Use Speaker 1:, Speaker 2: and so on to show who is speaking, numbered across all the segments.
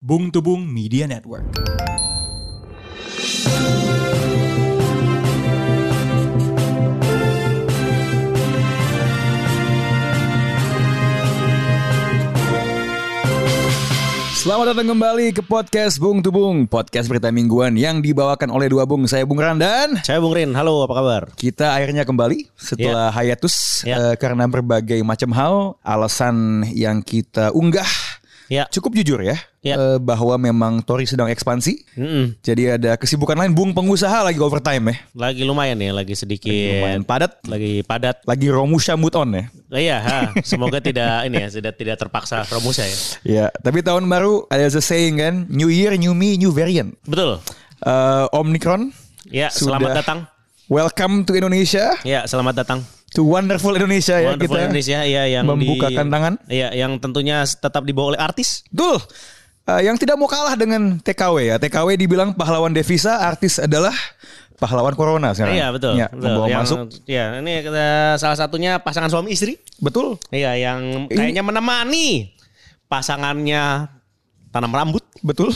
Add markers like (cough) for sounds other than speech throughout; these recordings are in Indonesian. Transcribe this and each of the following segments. Speaker 1: Bung Tubung Media Network.
Speaker 2: Selamat datang kembali ke podcast Bung Tubung, podcast berita mingguan yang dibawakan oleh dua bung. Saya Bung Randan.
Speaker 3: Saya Bung Rin, halo apa kabar?
Speaker 2: Kita akhirnya kembali setelah hiatus
Speaker 3: Ya.
Speaker 2: eh, karena berbagai macam hal, alasan yang kita unggah.
Speaker 3: Ya.
Speaker 2: Cukup jujur ya,
Speaker 3: Ya.
Speaker 2: eh, bahwa memang Tori sedang ekspansi.
Speaker 3: Mm-mm.
Speaker 2: Jadi ada kesibukan lain, Bung pengusaha lagi overtime ya.
Speaker 3: Lagi lumayan ya, lagi sedikit
Speaker 2: Lumayan padat,
Speaker 3: lagi padat.
Speaker 2: lagi Romusha mood on ya.
Speaker 3: Eh, iya, ha. semoga tidak (laughs) ini ya, tidak tidak terpaksa Romusa ya.
Speaker 2: Ya, tapi tahun baru ada the saying kan, new year, new me, new variant.
Speaker 3: Betul.
Speaker 2: Eh, Omicron.
Speaker 3: Ya,
Speaker 2: Sudah.
Speaker 3: selamat datang.
Speaker 2: Welcome to Indonesia.
Speaker 3: Ya, selamat datang.
Speaker 2: To wonderful Indonesia ya
Speaker 3: Wonderful
Speaker 2: kita.
Speaker 3: Indonesia ya yang di-
Speaker 2: membukakan tangan.
Speaker 3: Iya, yang tentunya tetap dibawa oleh artis.
Speaker 2: Betul. Eh, yang tidak mau kalah dengan TKW ya. TKW dibilang pahlawan devisa, artis adalah pahlawan corona sekarang.
Speaker 3: Iya, betul.
Speaker 2: Ya,
Speaker 3: betul.
Speaker 2: membawa
Speaker 3: Yang-
Speaker 2: masuk.
Speaker 3: Iya, ini kita- salah satunya pasangan suami istri.
Speaker 2: Betul.
Speaker 3: Iya, yang kayaknya menemani pasangannya tanam rambut.
Speaker 2: Betul.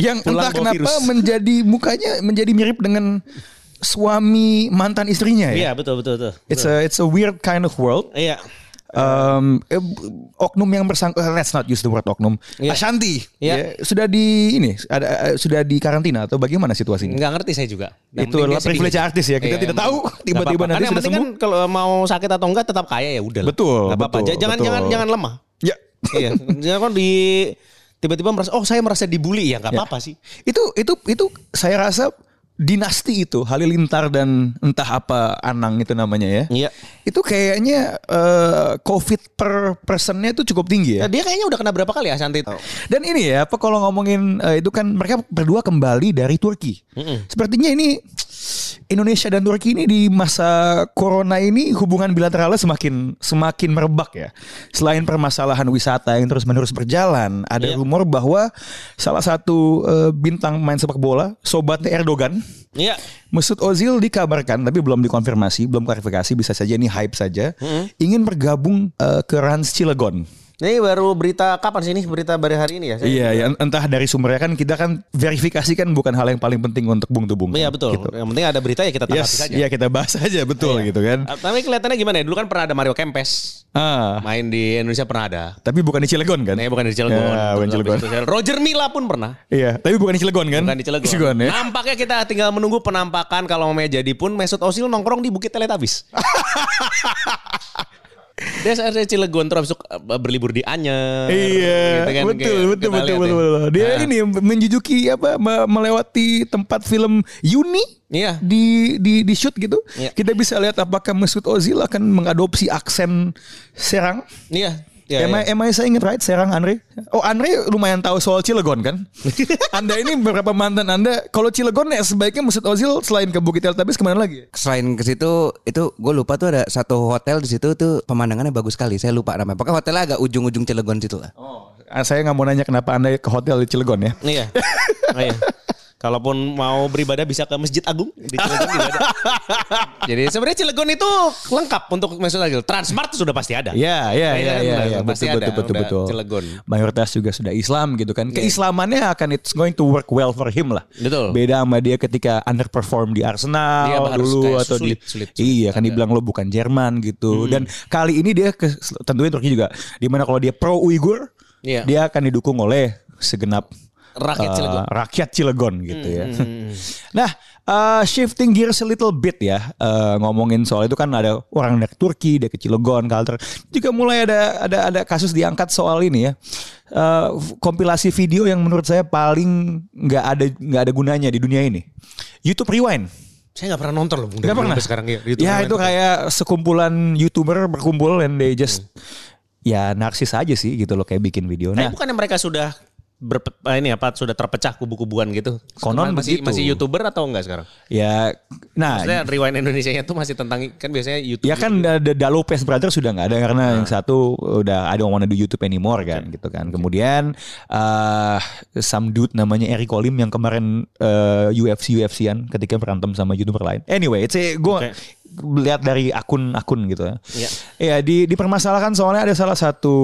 Speaker 2: Yang entah
Speaker 3: Pulang bawa
Speaker 2: kenapa
Speaker 3: virus.
Speaker 2: menjadi mukanya menjadi mirip dengan suami mantan istrinya ya.
Speaker 3: Iya, betul betul betul.
Speaker 2: It's a it's a weird kind of world.
Speaker 3: Iya.
Speaker 2: Um, eh, oknum yang bersangkutan eh, let's not use the word oknum.
Speaker 3: Iya.
Speaker 2: Ashanti
Speaker 3: Iya.
Speaker 2: ya, sudah di ini ada eh, sudah di karantina atau bagaimana situasinya?
Speaker 3: Nggak ngerti saya juga.
Speaker 2: Itu
Speaker 3: Yang penting
Speaker 2: adalah
Speaker 3: dia sedih
Speaker 2: privilege
Speaker 3: aja.
Speaker 2: artis ya. Kita
Speaker 3: Iya,
Speaker 2: tidak
Speaker 3: emang.
Speaker 2: tahu
Speaker 3: Nggak
Speaker 2: tiba-tiba
Speaker 3: apa-apa.
Speaker 2: nanti
Speaker 3: Karena yang
Speaker 2: sudah
Speaker 3: penting kan kalau mau sakit atau enggak tetap kaya ya udah. lah.
Speaker 2: Betul,
Speaker 3: Nggak apa-apa.
Speaker 2: betul,
Speaker 3: J- Jangan
Speaker 2: betul.
Speaker 3: jangan jangan
Speaker 2: (laughs)
Speaker 3: lemah.
Speaker 2: Ya.
Speaker 3: iya. Jangan kan di tiba-tiba merasa oh saya merasa dibully ya nggak
Speaker 2: Iya.
Speaker 3: apa-apa sih.
Speaker 2: Itu itu itu saya rasa dinasti itu Halilintar dan entah apa Anang itu namanya ya.
Speaker 3: Iya.
Speaker 2: Itu kayaknya eh, COVID per personnya itu cukup tinggi ya.
Speaker 3: Nah, dia kayaknya udah kena berapa kali ya Santi?
Speaker 2: Dan ini ya, apa kalau ngomongin eh, itu kan mereka berdua kembali dari Turki. Sepertinya ini Indonesia dan Turki ini di masa corona ini hubungan bilateralnya semakin semakin merebak ya. Selain permasalahan wisata yang terus-menerus berjalan, ada
Speaker 3: Iya.
Speaker 2: rumor bahwa salah satu eh, bintang main sepak bola, sobatnya Erdogan,
Speaker 3: Iya.
Speaker 2: Mesut Ozil dikabarkan tapi belum dikonfirmasi, belum klarifikasi, bisa saja ini hype saja, ingin bergabung eh, ke Rans Cilegon.
Speaker 3: Ini baru berita kapan sih ini berita baru hari ini ya? Saya-
Speaker 2: Iya, ya, entah dari sumbernya kan kita kan verifikasi kan bukan hal yang paling penting untuk bung tubung.
Speaker 3: Iya betul. Yang penting ada berita ya kita tanggapi
Speaker 2: Gitu. Yes,
Speaker 3: saja.
Speaker 2: iya kita bahas aja betul gitu kan.
Speaker 3: Ah, Tapi kelihatannya gimana ya? Dulu kan pernah ada Mario Kempes.
Speaker 2: Ah,
Speaker 3: Main di Indonesia pernah ada.
Speaker 2: tapi bukan di Cilegon kan?
Speaker 3: Nah, bukan di Cilegon.
Speaker 2: Ya, bukan di Cilegon.
Speaker 3: Roger Mila pun pernah.
Speaker 2: Iya, tapi bukan di Cilegon kan?
Speaker 3: Bukan di Cilegon.
Speaker 2: ya.
Speaker 3: Nampaknya kita tinggal menunggu penampakan kalau mau jadi pun Mesut Ozil nongkrong di
Speaker 2: (laughs)
Speaker 3: Bukit Teletabis. Dia saya Cilegon terus habis itu, eh, berlibur di Anyer.
Speaker 2: Iya,
Speaker 3: gitu kan,
Speaker 2: betul,
Speaker 3: kayak
Speaker 2: betul,
Speaker 3: kita
Speaker 2: betul,
Speaker 3: lihat
Speaker 2: betul,
Speaker 3: ya.
Speaker 2: betul. Dia
Speaker 3: Nah,
Speaker 2: ini menjujuki apa me- melewati tempat film Yuni
Speaker 3: Iya.
Speaker 2: di di di shoot gitu.
Speaker 3: Iya.
Speaker 2: Kita bisa lihat apakah Mesut Ozil akan mengadopsi aksen Serang.
Speaker 3: Iya. Iya.
Speaker 2: Am
Speaker 3: iya.
Speaker 2: I- am I saying it right? Serang Andre. Oh Andre lumayan tahu soal Cilegon kan?
Speaker 3: (laughs)
Speaker 2: anda ini beberapa mantan Anda. Kalau Cilegon ya sebaiknya Mesut Ozil selain ke Bukit Eltabes kemana lagi?
Speaker 4: selain ke situ itu gue lupa tuh ada satu hotel di situ tuh pemandangannya bagus sekali saya lupa namanya pokoknya hotelnya agak ujung-ujung Cilegon situ lah
Speaker 2: Oh, saya nggak mau nanya kenapa Anda ke hotel di Cilegon ya. (laughs)
Speaker 3: Iya. Oh, iya. Kalaupun mau beribadah bisa ke Masjid Agung di Cilegon
Speaker 2: (laughs)
Speaker 3: ibadah. Jadi sebenarnya Cilegon itu lengkap untuk Mesut Ozil. Transmart sudah pasti ada.
Speaker 2: Ya, ya, ya,
Speaker 3: Iya, kan,
Speaker 2: ya,
Speaker 3: benar.
Speaker 2: ya,
Speaker 3: Pasti
Speaker 2: betul,
Speaker 3: ada,
Speaker 2: betul, betul,
Speaker 3: udah
Speaker 2: betul.
Speaker 3: Cilegon. Iya.
Speaker 2: Mayoritas juga sudah Islam gitu kan. Keislamannya akan it's going to work well for him lah.
Speaker 3: Betul.
Speaker 2: Beda sama dia ketika underperform di Arsenal
Speaker 3: Dia harus
Speaker 2: dulu
Speaker 3: kayak
Speaker 2: atau
Speaker 3: sulit,
Speaker 2: di
Speaker 3: sulit, Hmm. sulit.
Speaker 2: Iya, kan dibilang lo bukan Jerman gitu. Dan kali ini dia ke, tentunya Turki juga di mana kalau dia pro Uighur,
Speaker 3: Iya.
Speaker 2: dia akan didukung oleh segenap
Speaker 3: Rakyat
Speaker 2: eh,
Speaker 3: Cilegon. Hmm,
Speaker 2: rakyat Cilegon gitu ya. (laughs) Nah, eh, shifting gears a little bit ya. Eh, ngomongin soal itu kan ada orang dari Turki, dari ke Cilegon, Kalter. Juga mulai ada ada ada kasus diangkat soal ini ya. Eh, kompilasi video yang menurut saya paling nggak ada nggak ada gunanya di dunia ini. YouTube Rewind.
Speaker 3: Saya nggak pernah nonton loh. Bung. Dari
Speaker 2: Gak
Speaker 3: dulu
Speaker 2: pernah.
Speaker 3: sampai sekarang ya.
Speaker 2: ya itu kayak sekumpulan YouTuber berkumpul and they just
Speaker 3: Hmm.
Speaker 2: ya narsis aja sih gitu loh kayak bikin video.
Speaker 3: Tapi
Speaker 2: Nah,
Speaker 3: bukannya mereka sudah berpe- eh, ini apa sudah terpecah kubu-kubuan gitu?
Speaker 2: Konon
Speaker 3: masih
Speaker 2: begitu.
Speaker 3: masih youtuber atau enggak sekarang?
Speaker 2: ya nah
Speaker 3: Maksudnya rewind Indonesia itu masih tentang kan biasanya YouTube.
Speaker 2: Ya kan The Dalopes Brothers sudah nggak ada karena
Speaker 3: Nah.
Speaker 2: yang satu udah I don't wanna do YouTube anymore kan gitu kan. Kemudian eh some dude namanya Eric Olim yang kemarin eh, UFC UFC-an ketika berantem sama YouTuber lain. Anyway, it's gue
Speaker 3: Oke.
Speaker 2: lihat dari akun-akun gitu ya.
Speaker 3: Iya.
Speaker 2: Ya di dipermasalahkan soalnya ada salah satu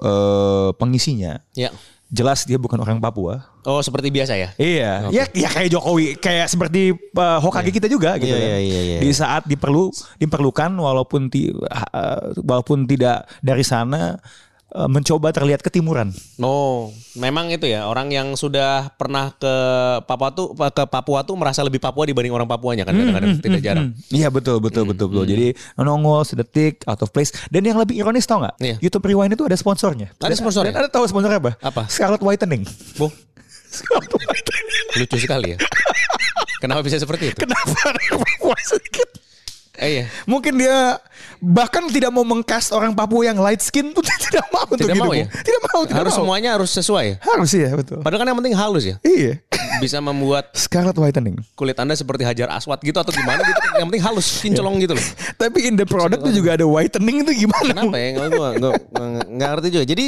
Speaker 2: eh, pengisinya
Speaker 3: Ya.
Speaker 2: jelas dia bukan orang Papua.
Speaker 3: Oh seperti biasa ya.
Speaker 2: Iya, ya, ya kayak Jokowi, kayak seperti uh, Hokage kita juga gitu
Speaker 3: Iya,
Speaker 2: kan.
Speaker 3: iya, iya, iya.
Speaker 2: Di saat diperlu diperlukan walaupun ti, uh, walaupun tidak dari sana uh, mencoba terlihat ketimuran.
Speaker 3: Oh, memang itu ya orang yang sudah pernah ke Papua tuh ke Papua tuh merasa lebih Papua dibanding orang Papuanya kan kadang-kadang tidak jarang.
Speaker 2: Hmm, Iya betul betul betul betul. Jadi nongol sedetik out of place. Dan yang lebih ironis tau nggak?
Speaker 3: Iya.
Speaker 2: YouTube Rewind itu ada sponsornya.
Speaker 3: Ada sponsornya?
Speaker 2: Dan ada tahu sponsornya apa?
Speaker 3: Apa?
Speaker 2: Scarlet Whitening. (laughs)
Speaker 3: Boh,
Speaker 2: Scarlet Whitening. (laughs)
Speaker 3: lucu sekali ya. Kenapa bisa seperti itu?
Speaker 2: Kenapa ada Papua sedikit?
Speaker 3: Eh, iya.
Speaker 2: Mungkin dia bahkan tidak mau mengcast orang Papua yang light skin (laughs) tuh tidak mau untuk
Speaker 3: Tidak mau
Speaker 2: hidupnya.
Speaker 3: ya?
Speaker 2: Tidak mau. Tidak
Speaker 3: Harus
Speaker 2: mau.
Speaker 3: semuanya harus sesuai ya.
Speaker 2: Harus ya betul.
Speaker 3: Padahal kan yang penting halus ya.
Speaker 2: Iya.
Speaker 3: Bisa membuat
Speaker 2: Scarlet Whitening.
Speaker 3: kulit Anda seperti hajar aswat gitu atau gimana gitu. Yang penting halus, kincolong gitu loh.
Speaker 2: Tapi in the product tuh juga ada whitening itu gimana?
Speaker 3: (laughs) Kenapa ya? Nggak- Gua gua- gua nggak ngerti juga. Jadi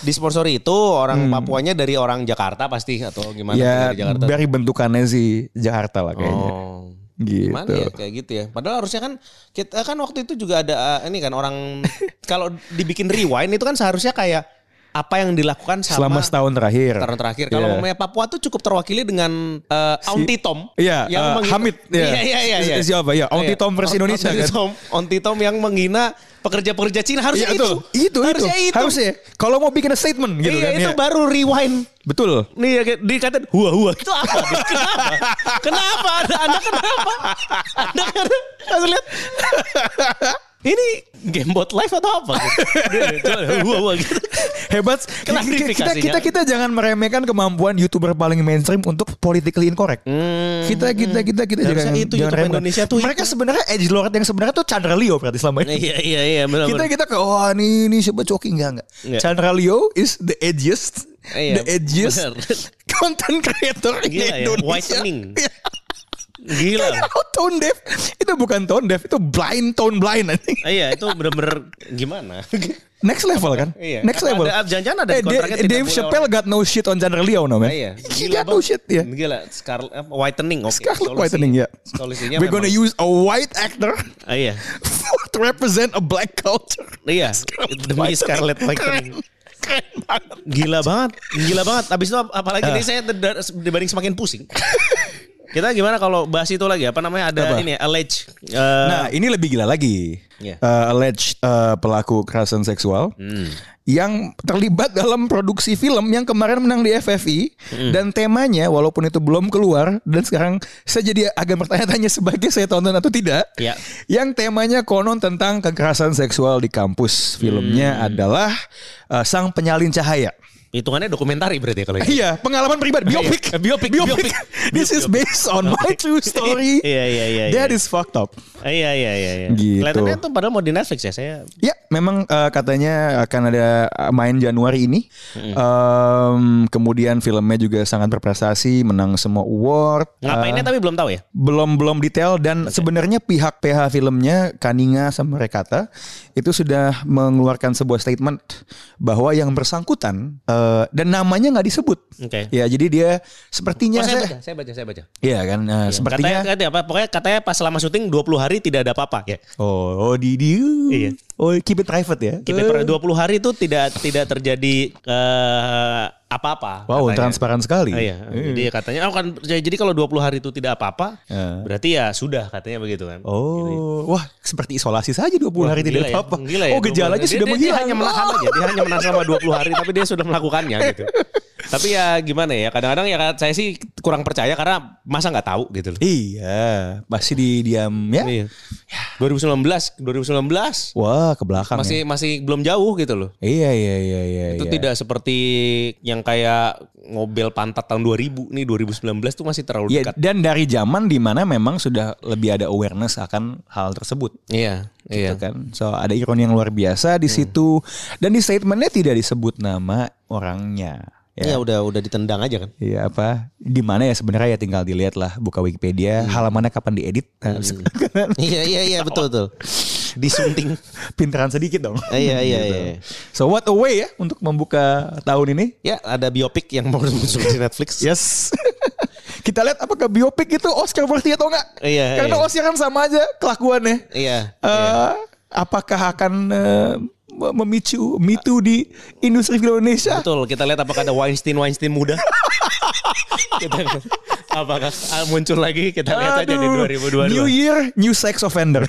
Speaker 3: disponsori itu orang Papuanya dari orang Jakarta pasti atau gimana
Speaker 2: Ya
Speaker 3: dari Jakarta.
Speaker 2: dari bentukannya sih Jakarta lah kayaknya.
Speaker 3: Oh.
Speaker 2: Gitu.
Speaker 3: Gimana ya kayak gitu ya. Padahal harusnya kan kita kan waktu itu juga ada eh, ini kan (laughs) orang kalau dibikin rewind itu kan seharusnya kayak apa yang dilakukan sama
Speaker 2: Selama setahun terakhir.
Speaker 3: tahun terakhir. Kalau
Speaker 2: Iya.
Speaker 3: ngomongnya Papua tuh cukup terwakili dengan eh, Auntie Tom.
Speaker 2: Iya,
Speaker 3: yang
Speaker 2: eh,
Speaker 3: menghina-
Speaker 2: Hamid, iya.
Speaker 3: Iya, iya, iya. iya.
Speaker 2: Si- siapa? Iya, Auntie
Speaker 3: Iya.
Speaker 2: Tom versi Indonesia,
Speaker 3: Auntie
Speaker 2: kan?
Speaker 3: Tom, Auntie Tom yang menghina pekerja-pekerja Cina harusnya
Speaker 2: Iya,
Speaker 3: itu.
Speaker 2: betul. Itu, itu.
Speaker 3: Harusnya itu.
Speaker 2: Harusnya. Kalau mau bikin a statement gitu kan.
Speaker 3: iya, itu
Speaker 2: ya.
Speaker 3: baru rewind.
Speaker 2: Betul.
Speaker 3: Nih ya, kayak dikatain hua hua itu apa? kenapa? kenapa? Anda, anda kenapa? Anda kenapa? Langsung lihat. Ini gamebot live atau apa? Hua hua gitu.
Speaker 2: Hebat. Kita, kita,
Speaker 3: Klarifikasinya.
Speaker 2: kita, kita jangan meremehkan kemampuan YouTuber paling mainstream untuk politically incorrect. Kita kita kita kita jangan
Speaker 3: Hmm. Harusnya itu
Speaker 2: jangan
Speaker 3: YouTuber
Speaker 2: remehkan.
Speaker 3: Indonesia tuh
Speaker 2: Mereka sebenarnya edge lord yang sebenarnya tuh Chandra Leo berarti selama ini.
Speaker 3: Iya iya iya benar.
Speaker 2: Kita
Speaker 3: benar.
Speaker 2: kita ke oh ini ini coba coki enggak enggak.
Speaker 3: Iya.
Speaker 2: Chandra Leo is the edgiest
Speaker 3: Iya,
Speaker 2: the edgiest
Speaker 3: benar.
Speaker 2: (laughs) content creator di
Speaker 3: Gila ya,
Speaker 2: Indonesia.
Speaker 3: whitening.
Speaker 2: Iya. (laughs)
Speaker 3: Gila.
Speaker 2: Kalau tone deaf itu bukan tone deaf itu blind tone blind anjing.
Speaker 3: Ah, Iya itu bener-bener gimana?
Speaker 2: Next level kan?
Speaker 3: Iya.
Speaker 2: Next
Speaker 3: Apa
Speaker 2: level.
Speaker 3: ada- jangan-jangan ada di
Speaker 2: eh, Da-
Speaker 3: kontraknya tidak
Speaker 2: Dave
Speaker 3: boleh
Speaker 2: Chappelle got no shit on Chandra Leo no man.
Speaker 3: Ah, (laughs) iya.
Speaker 2: He
Speaker 3: Gila,
Speaker 2: got no
Speaker 3: Bang.
Speaker 2: shit ya.
Speaker 3: Gila scarlet apa, whitening oke.
Speaker 2: Scarlet
Speaker 3: Solusi-
Speaker 2: whitening ya.
Speaker 3: Solusinya
Speaker 2: We're gonna
Speaker 3: memang-
Speaker 2: use a white actor (laughs)
Speaker 3: Ah, iya.
Speaker 2: to represent a black culture.
Speaker 3: Iya,
Speaker 2: Scarlet
Speaker 3: demi
Speaker 2: whitening.
Speaker 3: scarlet
Speaker 2: Keren.
Speaker 3: whitening.
Speaker 2: Keren banget.
Speaker 3: Gila banget, gila banget. Abis itu ap- apalagi
Speaker 2: Ah.
Speaker 3: nih saya teda- dibanding semakin pusing. Kita gimana kalau bahas itu lagi? Apa namanya ada
Speaker 2: Apa?
Speaker 3: ini ya, alleged. eh,
Speaker 2: Nah, ini lebih gila lagi.
Speaker 3: Iya.
Speaker 2: Eh, alleged eh, pelaku kekerasan seksual
Speaker 3: hmm.
Speaker 2: yang terlibat dalam produksi film yang kemarin menang di FFI
Speaker 3: Hmm.
Speaker 2: dan temanya walaupun itu belum keluar dan sekarang saya jadi agak bertanya-tanya sebagai saya tonton atau tidak.
Speaker 3: Iya.
Speaker 2: Yang temanya konon tentang kekerasan seksual di kampus. Filmnya
Speaker 3: Hmm.
Speaker 2: adalah eh, Sang Penyalin Cahaya.
Speaker 3: hitungannya dokumentari berarti ya
Speaker 2: (laughs)
Speaker 3: kalau itu.
Speaker 2: Iya, pengalaman pribadi biopik.
Speaker 3: Iya, biopik, biopik.
Speaker 2: This is based on my true story.
Speaker 3: Iya, iya, iya,
Speaker 2: That
Speaker 3: iya.
Speaker 2: is fucked up.
Speaker 3: Ah, Iya iya iya. iya.
Speaker 2: Gitu.
Speaker 3: Kelihatannya tuh padahal mau di Netflix ya saya.
Speaker 2: Ya, memang eh, katanya akan ada eh, main Januari ini. Em, kemudian filmnya juga sangat berprestasi, menang semua award. Ah.
Speaker 3: Ngapainnya tapi belum tahu ya.
Speaker 2: Belum belum detail dan sebenarnya pihak PH filmnya Kaninga sama Rekata itu sudah mengeluarkan sebuah statement bahwa yang bersangkutan eh, dan namanya nggak disebut.
Speaker 3: Oke.
Speaker 2: Ya, jadi dia sepertinya
Speaker 3: Oh, saya
Speaker 2: Iya, saya-
Speaker 3: baca, saya baca, saya baca.
Speaker 2: Iya kan, eh, sepertinya
Speaker 3: Katanya, katanya apa? Pokoknya katanya pas selama syuting 20 hari tidak ada apa-apa ya.
Speaker 2: oh, oh di di
Speaker 3: Iya.
Speaker 2: oh keep it private ya.
Speaker 3: Kita per 20 hari itu tidak tidak terjadi eh,
Speaker 2: Wow, Hmm.
Speaker 3: apa-apa. katanya.
Speaker 2: transparan sekali.
Speaker 3: Ah, iya. Jadi katanya oh kan jadi kalau 20 hari itu tidak apa-apa,
Speaker 2: Eh.
Speaker 3: berarti ya sudah katanya begitu kan.
Speaker 2: Oh, wah seperti isolasi saja 20 hari
Speaker 3: Gila
Speaker 2: tidak
Speaker 3: ya,
Speaker 2: apa-apa.
Speaker 3: gila ya,
Speaker 2: oh, gejalanya
Speaker 3: 20
Speaker 2: sudah
Speaker 3: hari. Dia- dia-
Speaker 2: menghilang.
Speaker 3: Dia hanya menahan
Speaker 2: Oh.
Speaker 3: aja, dia hanya menahan selama 20 hari tapi dia sudah melakukannya
Speaker 2: (laughs)
Speaker 3: gitu. tapi ya gimana ya, kadang-kadang ya saya sih kurang percaya karena masa nggak tahu gitu loh.
Speaker 2: Iya, pasti di diam ya.
Speaker 3: Iya. 2019, 2019
Speaker 2: Wah, ke belakang.
Speaker 3: masih
Speaker 2: ya.
Speaker 3: masih belum jauh gitu loh.
Speaker 2: Iya, iya, iya, iya.
Speaker 3: Itu
Speaker 2: iya.
Speaker 3: tidak seperti yang kayak ngobel pantat tahun 2000 nih 2019 tuh masih terlalu
Speaker 2: Iya,
Speaker 3: dekat.
Speaker 2: dan dari zaman dimana memang sudah lebih ada awareness akan hal tersebut.
Speaker 3: Iya, iya. Hmm.
Speaker 2: Gitu kan. So ada ironi yang luar biasa di situ dan di statementnya tidak disebut nama orangnya. Ya.
Speaker 3: Ya. udah udah ditendang aja kan.
Speaker 2: Iya apa? Di mana ya sebenarnya ya tinggal dilihat lah buka
Speaker 3: Hmm.
Speaker 2: Wikipedia halamannya kapan diedit. Nah,
Speaker 3: (laughs)
Speaker 2: (laughs)
Speaker 3: Iya iya iya betul betul. Disunting.
Speaker 2: pintaran sedikit dong.
Speaker 3: Ah, (laughs) iya, iya,
Speaker 2: Gitu.
Speaker 3: iya.
Speaker 2: So what a way ya untuk membuka tahun ini.
Speaker 3: Ya ada biopik yang mau muncul (laughs) di Netflix.
Speaker 2: Yes. (laughs) Kita lihat apakah biopik itu Oscar worthy atau enggak.
Speaker 3: Iya,
Speaker 2: Karena kan
Speaker 3: iya.
Speaker 2: Oscar kan sama aja kelakuannya.
Speaker 3: Iya.
Speaker 2: Eh, Apakah akan eh, me- memicu mitu di industri film Indonesia.
Speaker 3: Betul, kita lihat apakah ada Weinstein Weinstein (laughs) muda. kita apakah ah, muncul lagi kita lihat aja di
Speaker 2: Aduh,
Speaker 3: 2022. (laughs)
Speaker 2: New Year, new sex offender.